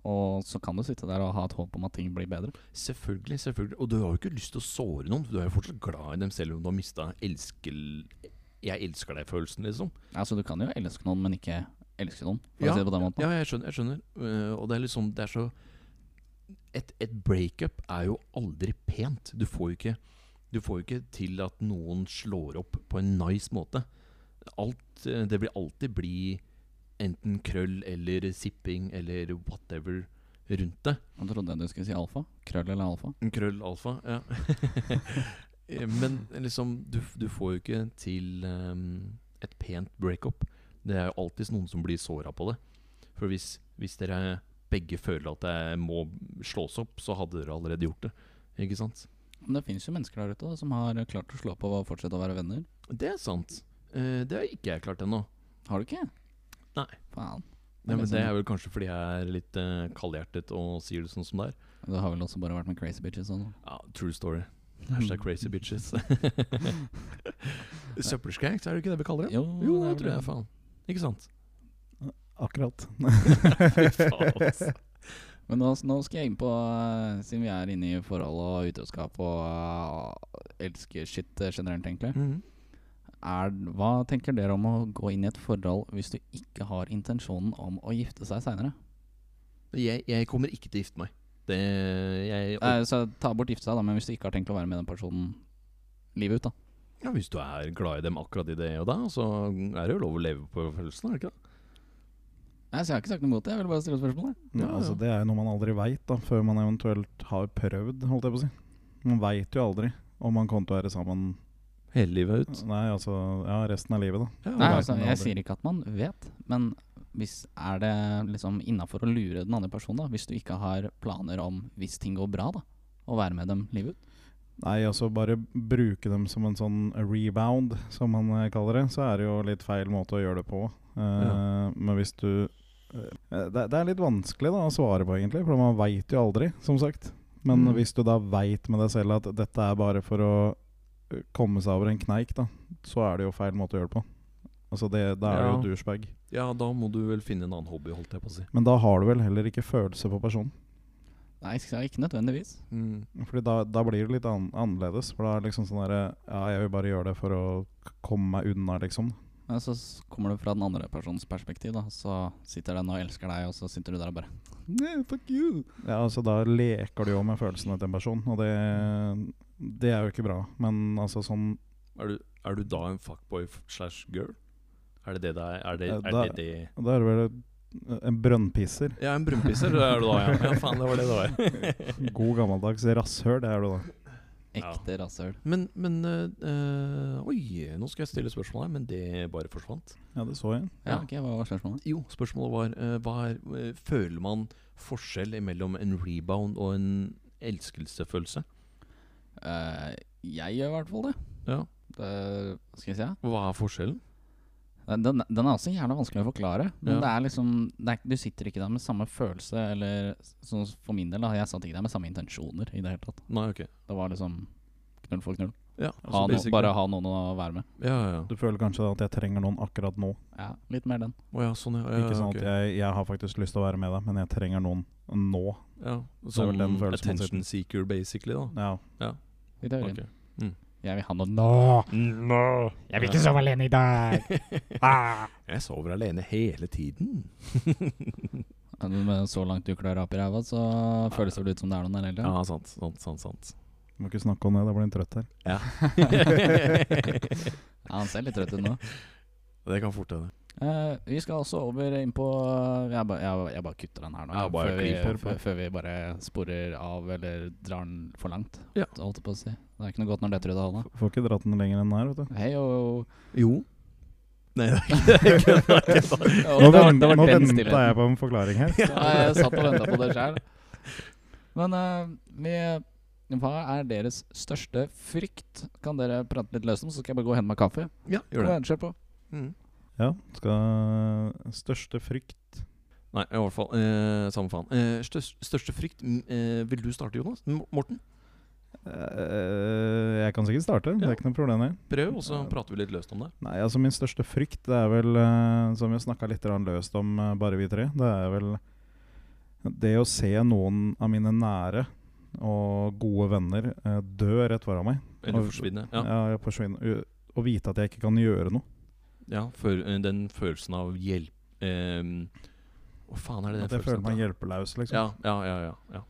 A: og så kan du sitte der og ha et håp om at ting blir bedre.
B: Selvfølgelig, selvfølgelig. Og du har jo ikke lyst til å såre noen, for du er jo fortsatt glad i dem selv om du har mista elskel... Jeg elsker deg-følelsen, liksom.
A: Altså du kan jo elske noen, men ikke elske noen, for
B: Ja,
A: å si det på den måten.
B: Ja, jeg skjønner. Jeg skjønner. Eh, og det er liksom Det er så Et, et breakup er jo aldri pent. Du får jo ikke Du får jo ikke til at noen slår opp på en nice måte. Alt eh, Det vil alltid bli enten krøll eller sipping eller whatever rundt det.
A: Jeg trodde du skulle si alfa. Krøll eller alfa.
B: Krøll alfa, ja. Eh, Men liksom, du, du får jo ikke til ehm, et pent breakup. Det er jo alltid noen som blir såra på det. For hvis, hvis dere begge føler at det må slås opp, så hadde dere allerede gjort det. Ikke sant?
A: Men det fins jo mennesker der ute da, som har klart å slå på og fortsette å være venner.
B: Det er sant. Eh, det har ikke jeg klart ennå.
A: Har du ikke?
B: Nei.
A: Faen.
B: Nei, men sånn-
A: liksom-
B: det er vel kanskje fordi jeg er litt eh, kaldhjertet og sier det sånn som det er.
A: Du har vel også bare vært med crazy bitches og sånn?
B: Ja, true story. Hashtag crazy bitches. Søppelskrenks, er det ikke det vi kaller det?
A: Jo, Mm,
B: Jo,
A: det er
B: det
A: vel
B: tror
A: det.
B: jeg, faen. Ikke sant?
C: Akkurat.
B: Faen, altså.
A: Men nå, nå skal jeg inn på, eh, siden vi er inne i forhold og utroskap og eh, elsker shit eh, generelt, egentlig.
B: Mhm.
A: Er, hva tenker dere om å gå inn i et forhold hvis du ikke har intensjonen om å gifte seg seinere?
B: jeg, jeg kommer ikke til å gifte meg. Det, jeg,
A: Eh, så ta bort gifte seg, da, men hvis du ikke har tenkt å være med den personen livet ut, da.
B: ja, hvis du er glad i dem akkurat i det og da, så er det jo lov å leve på følelsen, er det ikke det?
A: Nei, så jeg har ikke sagt noe imot det. Jeg vil bare stille spørsmål. jeg.
C: Ja,
B: Ja,
C: altså
B: ja.
C: Det er jo noe man aldri veit før man eventuelt har prøvd. holdt jeg på å si Man veit jo aldri om man kommer til å være sammen
B: Hele livet ut.
C: Nei, altså, ja, resten av livet. da
A: Nei,
C: vet
A: altså,
C: man
A: jeg
C: aldri.
A: sier ikke at man vet, men hvis er det liksom innafor å lure den andre personen, da? Hvis du ikke har planer om, hvis ting går bra, da, å være med dem livet ut?
C: Nei, altså Bare bruke dem som en sånn rebound, som man eh, kaller det. Så er det jo litt feil måte å gjøre det på. Eh,
B: Ja.
C: Men hvis du eh, det, det er litt vanskelig da å svare på, egentlig, for man veit jo aldri, som sagt. Men
B: Mm.
C: hvis du da veit med deg selv at dette er bare for å eh, komme seg over en kneik, da, så er det jo feil måte å gjøre det på. Altså det, Da er det
B: Ja.
C: jo douchebag.
B: Ja, da må du vel finne en annen hobby, holdt jeg på å si.
C: Men da har du vel heller ikke følelse for personen.
A: Nei, ikke- ikke nødvendigvis.
B: Mm.
C: Fordi da, da blir det litt an annerledes. For da er det liksom sånn derre Ja, jeg vil bare gjøre det for å k- komme meg unna, liksom.
A: Men så s- kommer du fra den andre persons perspektiv, da. Så sitter den og elsker deg, og så sitter du der og bare
C: Yeah, fuck you Ja, altså Da leker du jo med følelsene til en person, og det, det er jo ikke bra. Men altså sånn
B: Er, du, er du da en fuckboy f- slash girl? Er det det det er? Er det
C: Ja,
B: er,
C: da-
B: det, det?
C: Da er det vel en brønnpisser.
B: Ja, en brunpisser det er du da, ja. ja. Faen, det var det det var.
C: God gammeldags rasshøl, det er du da.
A: Ekte rasshøl.
B: men, men eh, eh, Oi, nå skal jeg stille spørsmål her, men det bare forsvant.
C: Ja, det så jeg.
A: Ja, ok, hva var spørsmålet?
B: Jo, spørsmålet var eh, hva er, eh, Føler man forskjell mellom en rebound og en elskelsefølelse?
A: Eh, jeg gjør i hvert fall det.
B: Ja.
A: det. Hva skal jeg si? ja?
B: Hva er forskjellen?
A: Den, den den er også jævla vanskelig å forklare. Men
B: Ja.
A: det er liksom det er, Du sitter ikke der med samme følelse, eller sånn for min del, da. Jeg satt ikke der med samme intensjoner i det hele tatt.
B: Nei, ok.
A: Det var liksom knull for knull.
B: Ja,
A: Ha
B: altså
A: no,
B: basically-
A: bare ha noen å være med.
B: Ja, ja.
C: Du føler kanskje at jeg trenger noen akkurat nå.
A: Ja, Litt mer den.
B: Å ja, sånn, ja. ja, ja,
C: Ikke sånn
B: ok.
C: at jeg, jeg har faktisk lyst til å være med deg, men jeg trenger noen nå.
B: ja.
C: er vel
B: Sånn
C: den følelsen man
B: attention seeker, basically, da.
C: Ja,
A: I teorien.
B: Ok.
A: Jeg vil ha noe nå!
D: Jeg vil ikke sove alene i dag. Ah.
B: Jeg sover alene hele tiden.
A: Ja, Men så langt du klør opp i ræva, så føles det vel ut som det er noen der
B: Ja,
A: heller.
B: sant, sant, sant. sant.
C: Må ikke snakke om det, da blir en trøtt her.
B: det
A: Ja, han ser litt trøtt ut nå.
B: kan fort hende.
A: Eh, vi skal også over inn på Jeg, ba, jeg, jeg bare kutter den her nå.
B: Ja, bare
A: før, vi,
B: klipper på.
A: før, før vi bare sporer av eller drar den for langt.
B: Ja.
A: Holdt jeg på å si. Det er ikke noe godt når det trur av hånda.
C: Får ikke dratt den lenger enn den er, vet du.
A: Hei, og
B: Jo. Nei, det er ikke det. er ikke sant.
A: Ja,
C: Nå,
A: det var- det var
C: nå
A: den
C: venta
A: stillheten.
C: jeg på en forklaring her.
A: Ja, jeg satt og venta på det sjøl. Men eh, vi, hva er deres største frykt? Kan dere prate litt løst om, så skal jeg bare gå og hente meg kaffe.
B: Ja,
A: Kom
B: gjør det.
A: igjen, kjør på.
B: Mm.
C: Ja, skal Største frykt
B: Nei, i hvert fall. Eh, samme faen. Eh, størst, største frykt mm, eh, Vil du starte, Jonas? M Morten?
C: Eh, Jeg kan sikkert starte, det
B: Ja.
C: er ikke noe problem. det.
B: Prøv, og så
C: Ja.
B: prater vi litt løst om det.
C: Nei, altså Min største frykt det er vel, eh, som vi snakka litt grann løst om, eh, bare vi tre, det er vel det å se noen av mine nære og gode venner eh, dø rett foran meg.
B: Eller
C: Og-
B: forsvinne. Ja.
C: Ja. jeg forsvinner, u- og vite at jeg ikke kan gjøre noe.
B: Ja, føl- eh, den følelsen av hjelp ehm, Hva faen er det den
C: At jeg
B: følelsen
C: føler meg
B: heter?
C: hjelpeløs, liksom.
B: Ja, ja, ja, ja, ja.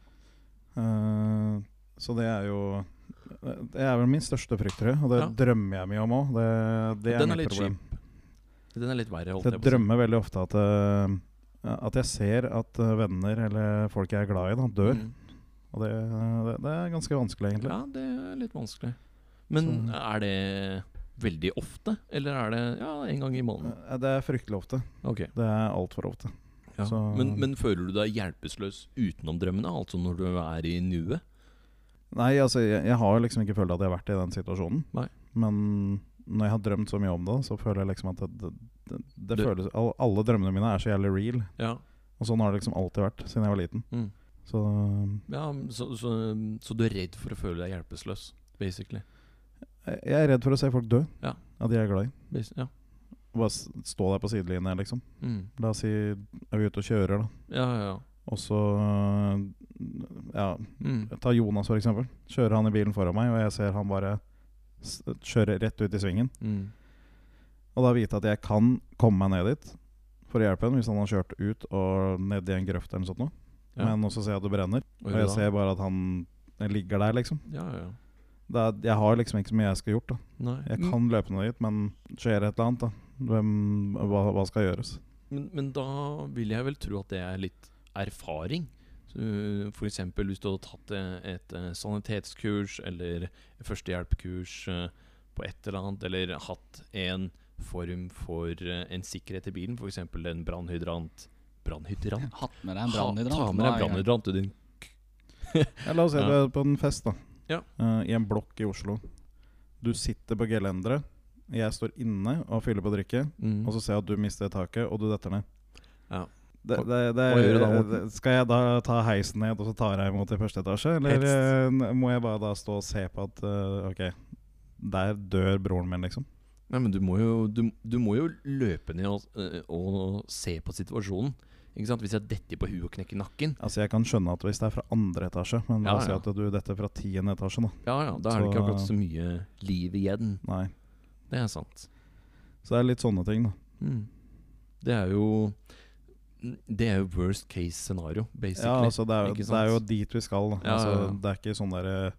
C: Eh, så det er jo eh, Det er vel min største frykt, tror jeg. Og det
B: Ja.
C: drømmer jeg mye om òg. Det, det er
B: Den er
C: mitt
B: litt
C: problem.
B: Den er litt verre, holdt
C: Jeg
B: jeg på å si.
C: drømmer veldig ofte at, eh, at jeg ser at eh, venner eller folk jeg er glad i, da, dør.
B: Mm.
C: Og det, det, det er ganske vanskelig, egentlig. Sånn.
B: Ja, det er litt vanskelig. Men
C: Så-
B: er det veldig ofte, eller er det ja, en gang i måneden?
C: Eh, Det er fryktelig ofte.
B: Ok,
C: Det er altfor ofte.
B: ja.
C: så-
B: men, men føler du deg hjelpeløs utenom drømmene, altså når du er i nuet?
C: Nei, altså, jeg, jeg har jo liksom ikke følt at jeg har vært i den situasjonen.
B: Nei.
C: Men når jeg har drømt så mye om det, så føler jeg liksom at det, det, det, det
B: Du-
C: føles al- Alle drømmene mine er så jævlig real.
B: Ja.
C: Og sånn har det liksom alltid vært siden jeg var liten.
B: Mm.
C: Så
B: ja så, så, så du er redd for å føle deg hjelpeløs, basically?
C: eh, jeg jeg er redd for å se folk dø.
B: Ja.
C: At de er glad i.
B: Bas ja.
C: Bare s- stå der på sidelinja, liksom.
B: Mm.
C: La oss si er vi ute og kjører, da.
B: ja, ja, ja.
C: Og så eh, Ja,
B: Mm.
C: ta Jonas, for eksempel. Kjører han i bilen foran meg, og jeg ser han bare s kjøre rett ut i svingen.
B: Mm.
C: Og da vite at jeg kan komme meg ned dit for å hjelpe ham hvis han har kjørt ut og ned i en grøft eller noe sånt. nå.
B: Ja.
C: Men også ser jeg at det brenner,
B: Og
C: og jeg
B: da?
C: ser bare at han ligger der, liksom.
B: Ja, ja, ja.
C: Det er, jeg har liksom ikke så mye jeg skulle gjort. da
B: Nei. Mm.
C: Jeg kan løpe ned dit, men skjer et eller annet, da Hvem, hva, hva skal gjøres?
B: Men, men da vil jeg vel tro at det er litt erfaring. Så, øh, For eksempel hvis du hadde tatt eh, et eh, sanitetskurs eller førstehjelpekurs eh, på et eller annet, eller hatt en form for eh, en sikkerhet i bilen, f.eks. en brannhydrant Brannhydrant?
A: Hatt med deg en
B: Ha-
A: brannhydrant. Nå er jeg
B: Ta med deg
A: i gang.
B: brannhydrant, du din
C: Ja, la oss si
B: Ja.
C: du er på en fest, da.
B: Ja.
C: Eh, I en blokk i Oslo. Du sitter på gelenderet, jeg står inne og fyller på drikke,
B: mm.
C: og så ser jeg at du mister taket, og du detter ned.
B: Ja.
C: Det, det, det,
B: Hva gjør du da, Morten?
C: det- Skal jeg da ta heisen ned, og så tar jeg imot i første etasje? Eller eh, n- må jeg bare da stå og se på at eh, Ok, der dør broren min, liksom.
B: Nei, men du må jo, du, du må jo løpe ned og, øh, og se på situasjonen. Ikke sant? Hvis jeg detter på huet og knekker nakken,
C: Altså Jeg kan skjønne at hvis det er fra andre etasje, men la
B: Ja,
C: oss si
B: ja.
C: at du detter fra tiende etasje, da.
B: ja ja, da er det ikke
C: Så-
B: akkurat så mye liv igjen.
C: Nei.
B: Det er sant.
C: Så det er litt sånne ting, da.
B: Mm. Det er jo Det er jo worst case scenario,
C: Ja,
B: basically.
C: altså det er, jo-
B: ikke
C: det er jo
B: sant?
C: dit vi skal. Da.
B: Ja,
C: altså,
B: ja, ja.
C: Det er ikke sånn derre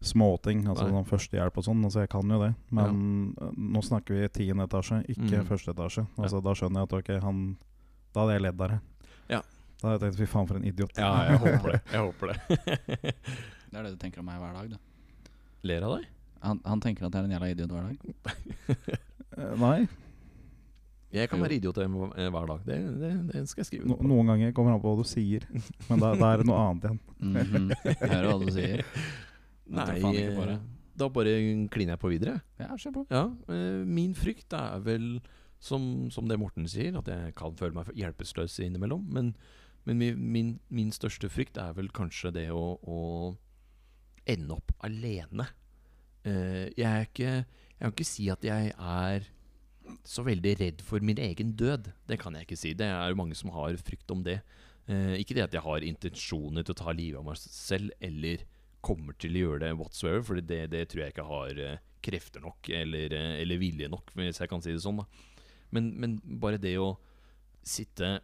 C: småting, altså
B: Nei.
C: sånn førstehjelp og sånn. Altså, jeg kan jo det, men eh, nå snakker vi tiende etasje, ikke
B: Mm.
C: første etasje. Altså, Da skjønner jeg at ok, han Da hadde jeg ledd der, jeg.
B: Ja.
C: Da hadde jeg tenkt fy faen, for en idiot.
B: Ja, jeg håper det. Jeg håper det.
A: Det er det du tenker om meg hver dag, du.
B: Ler av deg?
A: Han, han tenker at jeg er en jævla idiot hver dag.
C: Eh, Nei,
B: Jeg kan
A: Jo.
B: være idiot hver eh, hver dag. Det, det, det skal jeg skrive
C: no,
B: under på.
C: noen ganger kommer det an på hva du sier, men da, da er det noe annet igjen.
A: Mhm. Jeg hører hva du sier. Jeg tror
B: Nei,
A: faen ikke på det.
B: eh, da bare kliner jeg på videre.
A: Ja, kjør på.
B: Ja, eh, min frykt er vel som, som det Morten sier, at jeg kan føle meg hjelpeløs innimellom. Men, men min, min, min største frykt er vel kanskje det å, å ende opp alene. Eh, jeg er ikke Jeg kan ikke si at jeg er så veldig redd for min egen død. Det kan jeg ikke si. Det er jo mange som har frykt om det. Eh, ikke det at jeg har intensjoner til å ta livet av meg selv, eller kommer til å gjøre det whatsoever, for det, det tror jeg ikke har eh, krefter nok, eller, eh, eller vilje nok, hvis jeg kan si det sånn. da Men, men bare det å sitte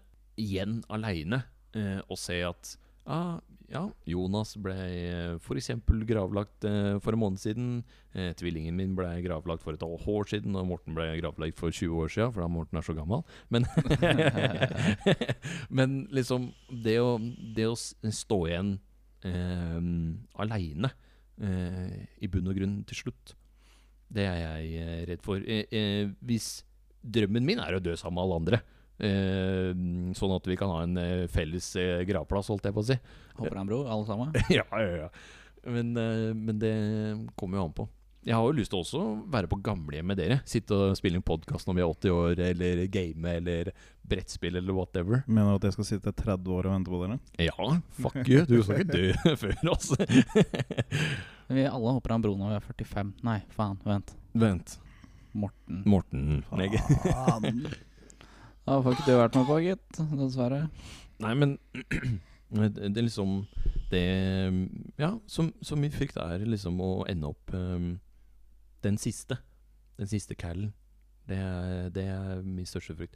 B: igjen aleine eh, og se at ah, ja, Jonas ble eh, for eksempel gravlagt eh, for en måned siden. Eh, tvillingen min ble gravlagt for et år siden, og Morten ble gravlagt for 20 år siden, for da Morten er så gammel. Men, men liksom det å, det å s- stå igjen eh, aleine eh, i bunn og grunn til slutt, det er jeg eh, redd for. Eh, eh, hvis drømmen min er å dø sammen med alle andre. Eh, sånn at vi kan ha en eh, felles eh, gravplass, holdt jeg på å si.
A: Håper det er en bro, alle sammen.
B: ja, ja, ja. Men, eh, men det kommer jo an på. Jeg har jo lyst til også å være på gamlehjem med dere. Sitte og spille inn podkast når vi er 80 år, eller game, eller brettspill, eller whatever.
C: Mener du at jeg skal sitte 30 år og vente på dere?
B: Ja, fuck you. Du skal ikke dø før altså. oss.
A: Vi alle håper det er en bro når vi er 45. Nei, faen, vent.
B: Vent.
A: Morten.
B: Morten. Nei,
C: Faen.
A: Da får ikke du vært med på, gitt. Dessverre.
B: Nei, men det det er liksom Det Ja, som, som min frykt er liksom å ende opp eh, den siste. Den siste callen. Det, er- det er min største frykt.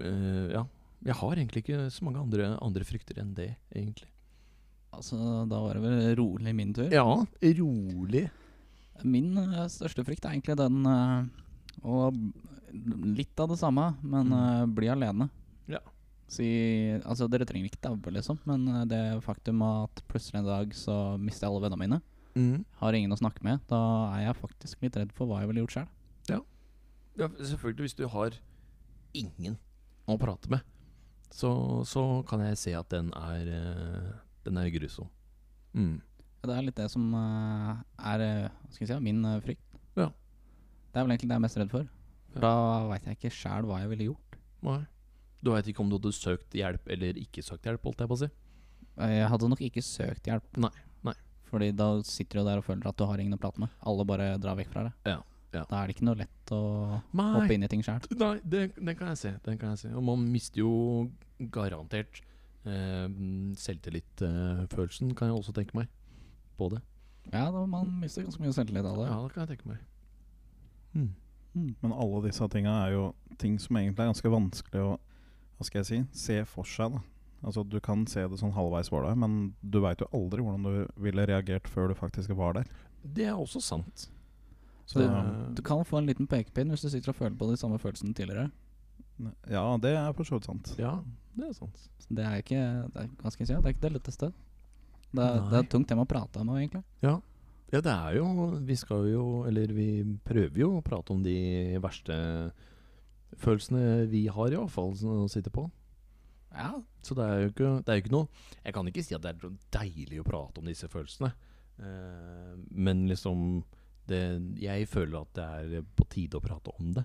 B: Eh, ja. Jeg har egentlig ikke så mange andre, andre frykter enn det, egentlig.
A: Altså, da var det vel rolig min tur.
B: Ja, rolig.
A: Min eh, største frykt er egentlig den eh, Og litt av det samme, men eh, bli alene.
B: Ja.
A: Si, altså Dere trenger ikke daue, liksom, men eh, det faktum at plutselig en dag så mister jeg alle vennene mine,
B: Mm.
A: har ingen å snakke med, da er jeg faktisk litt redd for hva jeg ville gjort sjøl.
B: Ja, selvfølgelig, hvis du har ingen å prate med, så, så kan jeg se at den er eh, Den er grusom. Mm.
A: Det er litt det som eh, er eh, hva skal jeg si, min eh, frykt.
B: Ja.
A: Det er vel egentlig det jeg er mest redd for.
B: Ja.
A: Da veit jeg ikke sjæl hva jeg ville gjort.
B: Nei. Du veit ikke om du hadde søkt hjelp eller ikke søkt hjelp, holdt jeg på å si.
A: Jeg hadde nok ikke søkt hjelp.
B: Nei, nei.
A: Fordi da sitter du der og føler at du har ingen å prate med. Alle bare drar vekk fra deg.
B: Ja, ja.
A: Da er det ikke noe lett å hoppe
B: Nei,
A: inn i ting sjøl.
B: nei det, den kan jeg se. Den kan jeg se. Og man mister jo garantert eh, selvtillitfølelsen, kan jeg også tenke meg. På det.
A: Ja, da, man mister ganske mye selvtillit av det.
B: Ja, det kan jeg tenke meg. Mm.
A: Mm.
C: Men alle disse tinga er jo ting som egentlig er ganske vanskelig å hva skal jeg si, se for seg. da. Altså, Du kan se det sånn halvveis var der, men du veit jo aldri hvordan du ville reagert før du faktisk var der.
B: Det er også sant.
C: Så um,
A: Du kan få en liten pekepinn hvis du sitter og føler på de samme følelsene tidligere.
C: ja, det er for så vidt sant.
B: Ja, det er sant.
A: Så det er ikke det er, hva skal jeg si, det er ikke det letteste. Det er, det
B: Nei.
A: er et tungt tema å prate om, egentlig.
B: Ja. ja, det er jo Vi skal jo, eller vi prøver jo å prate om de verste følelsene vi har, i hvert fall, å sitte på.
A: Ja,
B: Så det er jo ikke, det er jo ikke noe Jeg kan ikke si at det er noe deilig å prate om disse følelsene. Eh, men liksom det, Jeg føler at det er på tide å prate om det,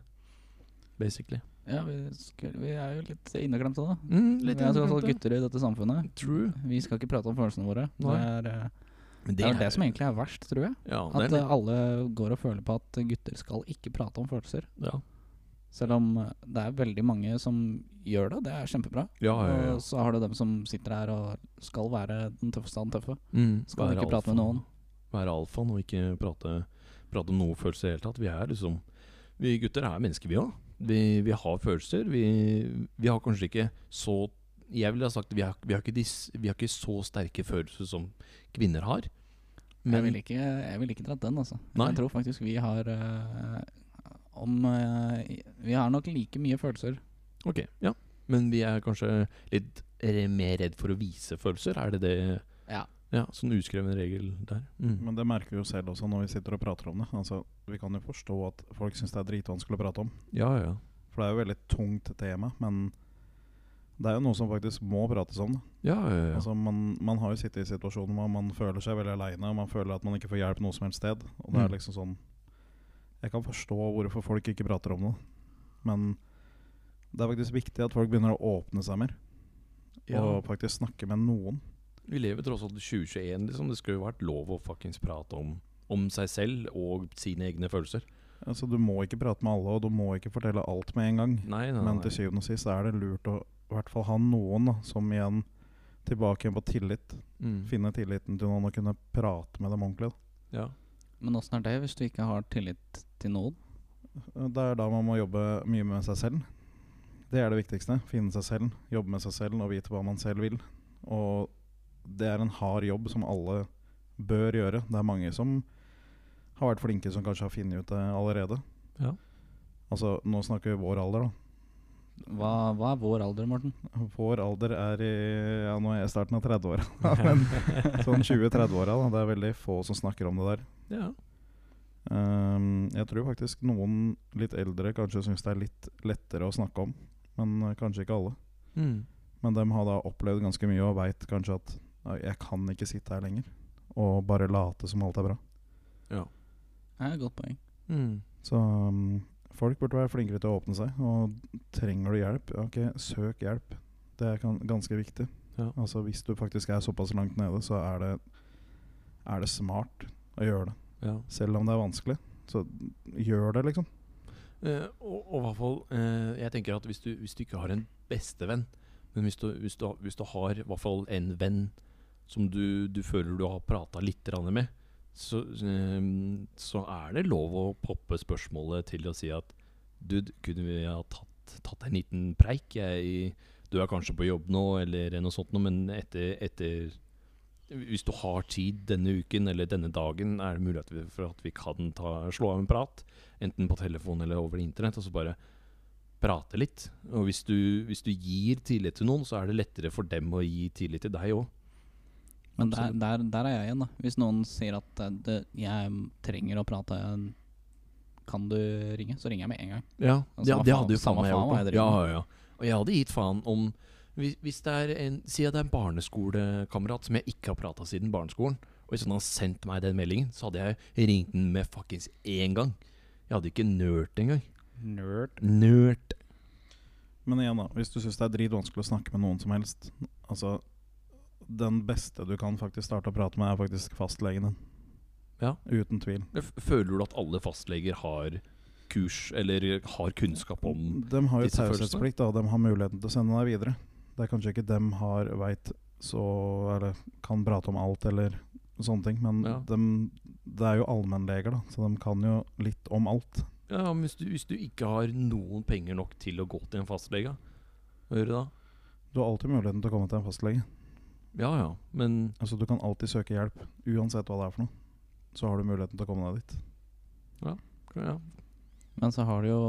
B: basically.
A: ja vi, skulle, vi er jo litt inneklemte, da.
B: Mm,
A: Vi er tross alt gutter i dette samfunnet.
B: True.
A: Vi skal ikke prate om følelsene våre.
B: Nei.
A: Det er eh,
B: Men
A: Det er jo det som egentlig er verst, tror jeg.
B: ja, det
A: At
B: er,
A: eh, alle går og føler på at gutter skal ikke prate om følelser.
B: ja.
A: Selv om eh, det er veldig mange som gjør det. Det er kjempebra.
B: Ja, ja, ja.
A: Og så har du dem som sitter her og skal være den tøffeste av den tøffe.
B: Mm,
A: Skal
B: være
A: ikke prate med
B: alfaen.
A: noen.
B: Være alfaen og ikke prate, prate om noen følelser i det hele tatt. Vi er liksom Vi gutter er mennesker, vi òg. Vi, vi har følelser. Vi, vi har kanskje ikke så Jeg ville ha sagt vi har, vi, har ikke de, s- vi har ikke så sterke følelser som kvinner har.
A: jeg, vil ikke, jeg vil ikke dratt den, altså.
B: Nei.
A: Jeg tror faktisk vi har eh, om eh, Vi har nok like mye følelser.
B: Ok, ja. Men vi er kanskje litt re- mer redd for å vise følelser. Er det det
A: Ja.
B: Ja, Sånn uskreven regel der. Mm.
C: Men det merker vi jo selv også når vi sitter og prater om det. Altså, Vi kan jo forstå at folk syns det er dritvanskelig å prate om.
B: Ja, ja.
C: For det er jo veldig tungt tema, men det er jo noe som faktisk må prates om. da.
B: Ja, ja, ja.
C: Altså, man, man har jo sittet i situasjoner hvor man føler seg veldig aleine, og man føler at man ikke får hjelp noe som helst sted. Og det
B: Mm.
C: er liksom sånn Jeg kan forstå hvorfor folk ikke prater om det, men det er faktisk viktig at folk begynner å åpne seg mer,
B: ja.
C: og faktisk snakke med noen.
B: Vi lever tross alt i 2021, liksom. Det skulle jo vært lov å fuckings prate om, om seg selv og sine egne følelser.
C: Altså, du må ikke prate med alle, og du må ikke fortelle alt med en gang.
B: Nei, nei,
C: Mm. Men
B: nei.
C: til syvende og sist er det lurt å i hvert fall ha noen da, som igjen tilbake igjen på tillit.
B: Mm.
C: Finne tilliten til noen og kunne prate med dem ordentlig. da.
B: Ja.
A: Men åssen er det hvis du ikke har tillit til noen?
C: Det er da man må jobbe mye med seg selv. Det er det viktigste. Finne seg selv, jobbe med seg selv og vite hva man selv vil. Og det er en hard jobb som alle bør gjøre. Det er mange som har vært flinke, som kanskje har funnet ut det allerede.
B: Ja.
C: Altså, nå snakker vi vår alder, da.
A: Hva, hva er vår alder, Morten?
C: Vår alder er i ja, nå er jeg i starten av 30-åra. Men sånn 20-30-åra, da. Det er veldig få som snakker om det der.
B: ja.
C: Ehm, jeg tror faktisk noen litt eldre kanskje syns det er litt lettere å snakke om, men eh, kanskje ikke alle.
B: Mm.
C: Men de har da opplevd ganske mye og veit kanskje at "Nei, jeg kan ikke sitte her lenger og bare late som alt er bra.
B: Ja.
A: Det er et godt poeng.
B: Mm.
C: Så mm, folk burde være flinkere til å åpne seg. Og trenger du hjelp, ja, ok, søk hjelp. Det er kan- ganske viktig.
B: Ja.
C: Altså Hvis du faktisk er såpass langt nede, så er det, er det smart å gjøre det.
B: ja.
C: Selv om det er vanskelig, så gjør det, liksom.
B: Eh, og, og i hvert fall eh, Jeg tenker at hvis du, hvis du ikke har en bestevenn, men hvis du, hvis du, hvis du har i hvert fall en venn som du, du føler du har prata litt grann med, så, eh, så er det lov å poppe spørsmålet til å si at Dude, kunne vi ha tatt, tatt en liten preik? Jeg, du er kanskje på jobb nå, eller noe sånt noe, men etter, etter Hvis du har tid denne uken eller denne dagen, er det mulighet for at vi kan ta, slå av en prat? enten på telefon eller over internett, og så bare prate litt. Og hvis du, hvis du gir tillit til noen, så er det lettere for dem å gi tillit til deg òg.
A: Men der, der, der er jeg igjen, da. Hvis noen sier at eh, det, jeg trenger å prate, eh, kan du ringe? Så ringer jeg med en gang.
B: Ja,
A: Ja, samme
B: det, det
A: faen-
B: hadde jo faen
A: samme
B: meg
A: faen
B: gjort.
A: hva jeg
B: da. Ja,
A: driver
B: ja, ja. Og jeg hadde gitt faen om hvis, hvis det er en, Si at det er en barneskolekamerat som jeg ikke har prata siden barneskolen. Og hvis han hadde sendt meg den meldingen, så hadde jeg ringt den med fuckings én gang. Jeg hadde ikke nølt engang.
A: Nerd.
B: Nølt.
C: Men igjen, da, hvis du syns det er dritvanskelig å snakke med noen som helst Altså, den beste du kan faktisk starte å prate med, er faktisk fastlegen din.
B: Ja.
C: Uten tvil.
B: F- Føler du at alle fastleger har kurs, eller har kunnskap om
C: De har jo
B: disse følelsene?
C: taushetsplikt, og de har muligheten til å sende deg videre. Det er kanskje ikke dem har veit så Eller kan prate om alt eller sånne ting, men
B: Ja.
C: dem- det er jo allmennleger, da, så de kan jo litt om alt.
B: Ja, men hvis du, hvis du ikke har noen penger nok til å gå til en fastlege, hva gjør du da?
C: Du har alltid muligheten til å komme til en fastlege.
B: Ja ja, men
C: Altså Du kan alltid søke hjelp, uansett hva det er for noe. Så har du muligheten til å komme deg dit.
B: ja.
A: Men så har du jo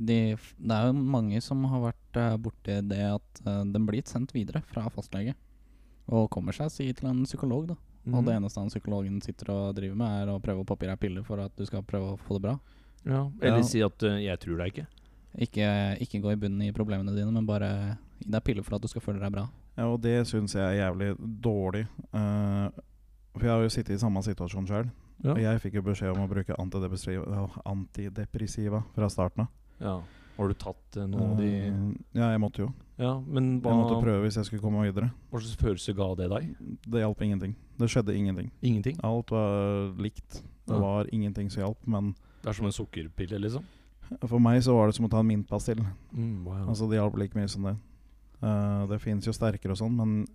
A: de, f- Det er jo mange som har vært eh, borti det at eh, den blir sendt videre fra fastlege. Og kommer seg si til en psykolog, da. Og det eneste han psykologen sitter og driver med, er å prøve å poppe i deg piller for at du skal prøve å få det bra.
B: ja. Eller
A: Ja.
B: si at eh, 'jeg tror deg ikke'.
A: Ikke, ikke gå i bunnen i problemene dine, men bare gi deg piller for at du skal føle deg bra.
C: Ja, og det syns jeg er jævlig dårlig. eh, for jeg har jo sittet i samme situasjon sjøl.
B: Ja.
C: Og jeg fikk jo beskjed om å bruke antidepressiva, antidepressiva fra starten av.
B: Ja. Har du tatt eh, noen av de
C: Eh, Ja, jeg måtte jo.
B: Ja, men hva,
C: Jeg måtte prøve hvis jeg skulle komme meg videre.
B: hva slags følelse ga det deg?
C: Det hjalp ingenting. Det skjedde ingenting.
B: Ingenting?
C: Alt var likt. Det
B: Ja.
C: var ingenting som hjalp, men
B: Det er som en sukkerpille, liksom?
C: for meg så var det som å ta en mintpastill.
B: Mm, wow.
C: Altså, det hjalp like mye som det. Eh, det fins jo sterkere og sånn, men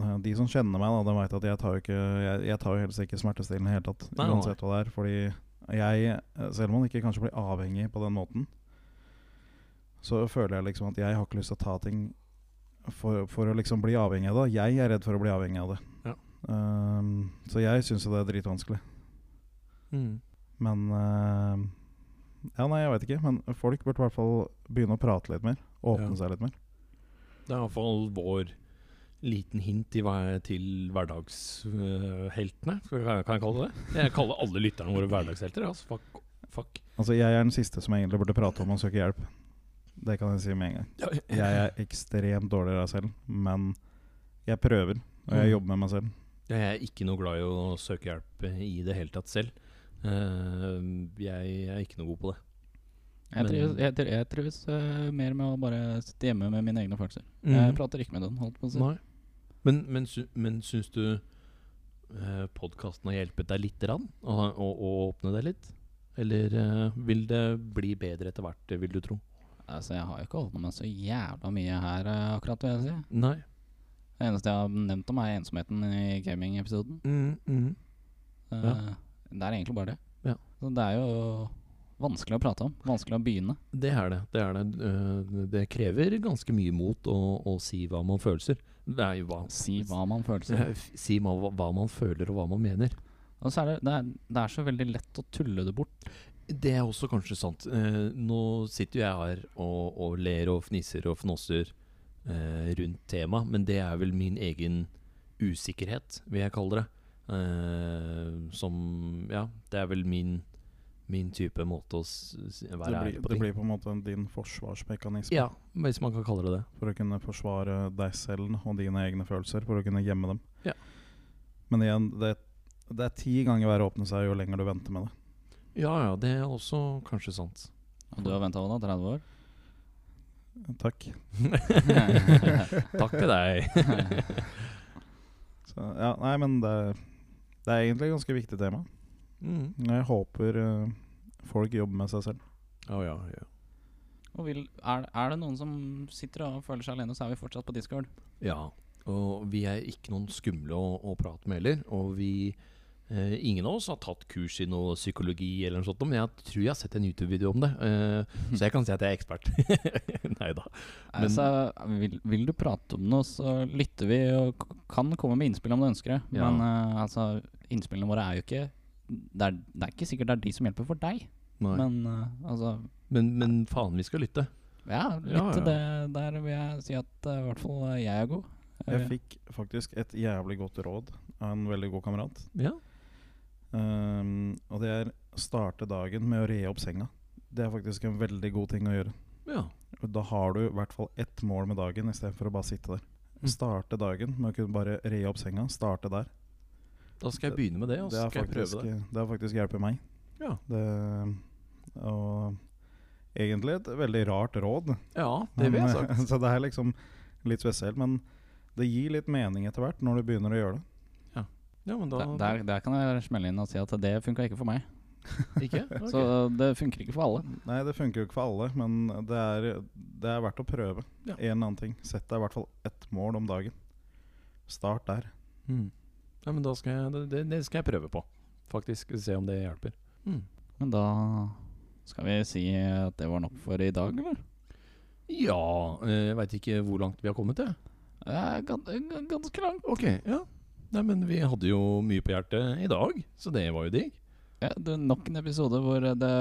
C: eh, de som kjenner meg, da, de veit at jeg tar jo ikke Jeg, jeg tar jo helst ikke smertestillende i det hele tatt.
B: Nei, nei.
C: Uansett hva det er. Fordi jeg, eh, selv om man ikke kanskje blir avhengig på den måten, så føler jeg liksom at jeg har ikke lyst til å ta ting for, for å liksom bli avhengig av det. Jeg er redd for å bli avhengig av det.
B: Ja.
C: Ehm, så jeg syns jo det er dritvanskelig.
B: mm.
C: Men eh, Ja, nei, jeg veit ikke. Men folk burde i hvert fall begynne å prate litt mer. Åpne
B: Ja.
C: seg litt mer.
B: Det er iallfall vår liten hint i hver, til hverdagsheltene, kan jeg kan jeg kalle det det? Jeg kaller alle lytterne våre hverdagshelter. Altså, fuck, fuck.
C: Altså, jeg er den siste som egentlig burde prate om å søke hjelp. Det kan jeg si med en gang.
B: Ja,
C: Jeg er ekstremt dårlig av selv, men jeg prøver, og
B: Mm.
C: jeg jobber med meg selv.
B: Jeg er ikke noe glad i å søke hjelp eh, i det hele tatt selv. Eh, jeg er ikke noe god på det.
A: Jeg
B: Men-
A: trives, jeg, tri- jeg trives eh, mer med å bare sitte hjemme med mine egne følelser. Jeg altså. prater ikke med noen, holdt på å si.
B: Mm. Mhm. Nei. Men, men, sy men syns du eh, podkasten har hjulpet deg lite grann? Å, å, å åpne deg litt? Eller eh, vil det bli bedre etter hvert, eh, vil du tro?
A: Altså, jeg har jo ikke åpna meg så jævla mye her, eh, akkurat, vil jeg si.
B: Nei.
A: Det eneste jeg har nevnt om, er ensomheten i gaming-episoden.
B: Mm, mm.
A: Eh,
B: Ja.
A: Det er egentlig bare det.
B: Ja.
A: Så det er jo vanskelig å prate om. Vanskelig å begynne.
B: Det er det. Det, er det. Eh, det krever ganske mye mot å, å si hva man følelser. Det er jo hva
A: Si hva man føler seg.
B: Eh, f- Si hva, hva man føler, og hva man mener.
A: Og så er det, det, er, det er så veldig lett å tulle det bort.
B: Det er også kanskje sant. Eh, nå sitter jo jeg her og, og ler og fniser og fnåser eh, rundt temaet, men det er vel min egen usikkerhet, vil jeg kalle det. Eh, som Ja, det er vel min, min type måte å s- s- være
C: Det
B: ærlig
C: blir,
B: på
C: det
B: ting.
C: blir på en måte din forsvarsmekanisme
B: Ja, hvis man kan kalle det det.
C: for å kunne forsvare deg selv og dine egne følelser, for å kunne gjemme dem.
B: Ja.
C: Men igjen, det, det er ti ganger verre å åpne seg jo lenger du venter med det.
B: Ja ja, det er også kanskje sant.
A: Og du har venta hva da? 30 år?
C: Takk.
B: Takk til deg.
C: Så, ja, nei, men det, det er egentlig et ganske viktig tema.
B: Mm.
C: Jeg håper eh, folk jobber med seg selv.
B: Å ja, ja.
A: Og vil, er, er det noen som sitter og føler seg alene, så er vi fortsatt på Discord.
B: Ja, og vi er ikke noen skumle å, å prate med heller. Og vi eh, Ingen av oss har tatt kurs i noe psykologi eller noe sånt, men jeg tror jeg har sett en YouTube-video om det. Eh, så jeg kan si at jeg er ekspert. Nei da. Men-
A: altså, vil, vil du prate om noe, så lytter vi og k- kan komme med innspill om du ønsker det.
B: Ja.
A: Men eh, altså, innspillene våre er jo ikke det er, det er ikke sikkert det er de som hjelper for deg,
B: Men,
A: men eh, altså
B: men, men faen, vi skal lytte.
A: Ja, litt
B: Ja, ja.
A: til det der vil jeg si at eh, i hvert fall eh, jeg er god.
C: Jeg fikk faktisk et jævlig godt råd av en veldig god kamerat.
B: Ja.
C: Ehm, og det er starte dagen med å re opp senga. Det er faktisk en veldig god ting å gjøre.
B: ja.
C: Og Da har du i hvert fall ett mål med dagen istedenfor å bare sitte der.
B: Mm.
C: Starte dagen med å kunne bare re opp senga. Starte der.
B: Da skal jeg begynne med det, og
C: Det
B: så
C: har
B: skal jeg
C: faktisk, eh,
B: prøve det.
C: det har faktisk hjulpet meg.
B: Ja.
C: Det, og egentlig et veldig rart råd.
B: Ja, det vil jeg
C: Men,
B: sagt.
C: så det er liksom litt spesielt. Men det gir litt mening etter hvert, når du begynner å gjøre det.
B: Ja, men da
A: Der, der, der kan jeg smelle inn og si at det funka ikke for meg.
B: Ikke?
A: Så
B: Ok.
A: det funker ikke for alle.
C: Nei, det funker jo ikke for alle, men det er, det er verdt å prøve.
B: Ja.
C: En eller annen ting. Sett deg i hvert fall ett mål om dagen. Start der.
B: Mm. Ja, men da skal jeg, det- det, det skal jeg prøve på, faktisk. Se om det hjelper. Mm.
A: Men da skal vi si at det var nok for i dag, eller?
B: Ja eh, Jeg veit ikke hvor langt vi har kommet, jeg.
A: Eh, gan- gan- Ganske langt.
B: Ok, ja. Nei, men vi hadde jo mye på hjertet i dag, så det var jo digg.
A: Ja, det er nok en episode hvor det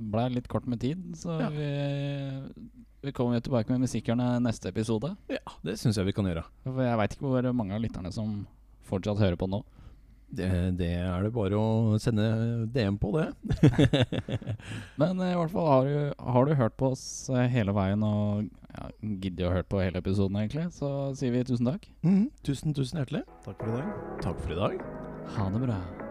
A: ble litt kort med tid, så
B: Ja.
A: vi, vi kommer jo tilbake med musikkerne neste episode.
B: Ja, det syns jeg vi kan gjøre.
A: For jeg veit ikke hvor mange av lytterne som fortsatt hører på nå.
B: Det, det er det bare å sende DM på, det.
A: Men eh, i hvert fall har du, har du hørt på oss eh, hele veien og ja, gidder å høre på hele episoden, egentlig, så sier vi tusen takk.
B: Mhm. Tusen, tusen hjertelig.
C: Takk for i dag.
B: Takk for i dag.
A: Ha det bra.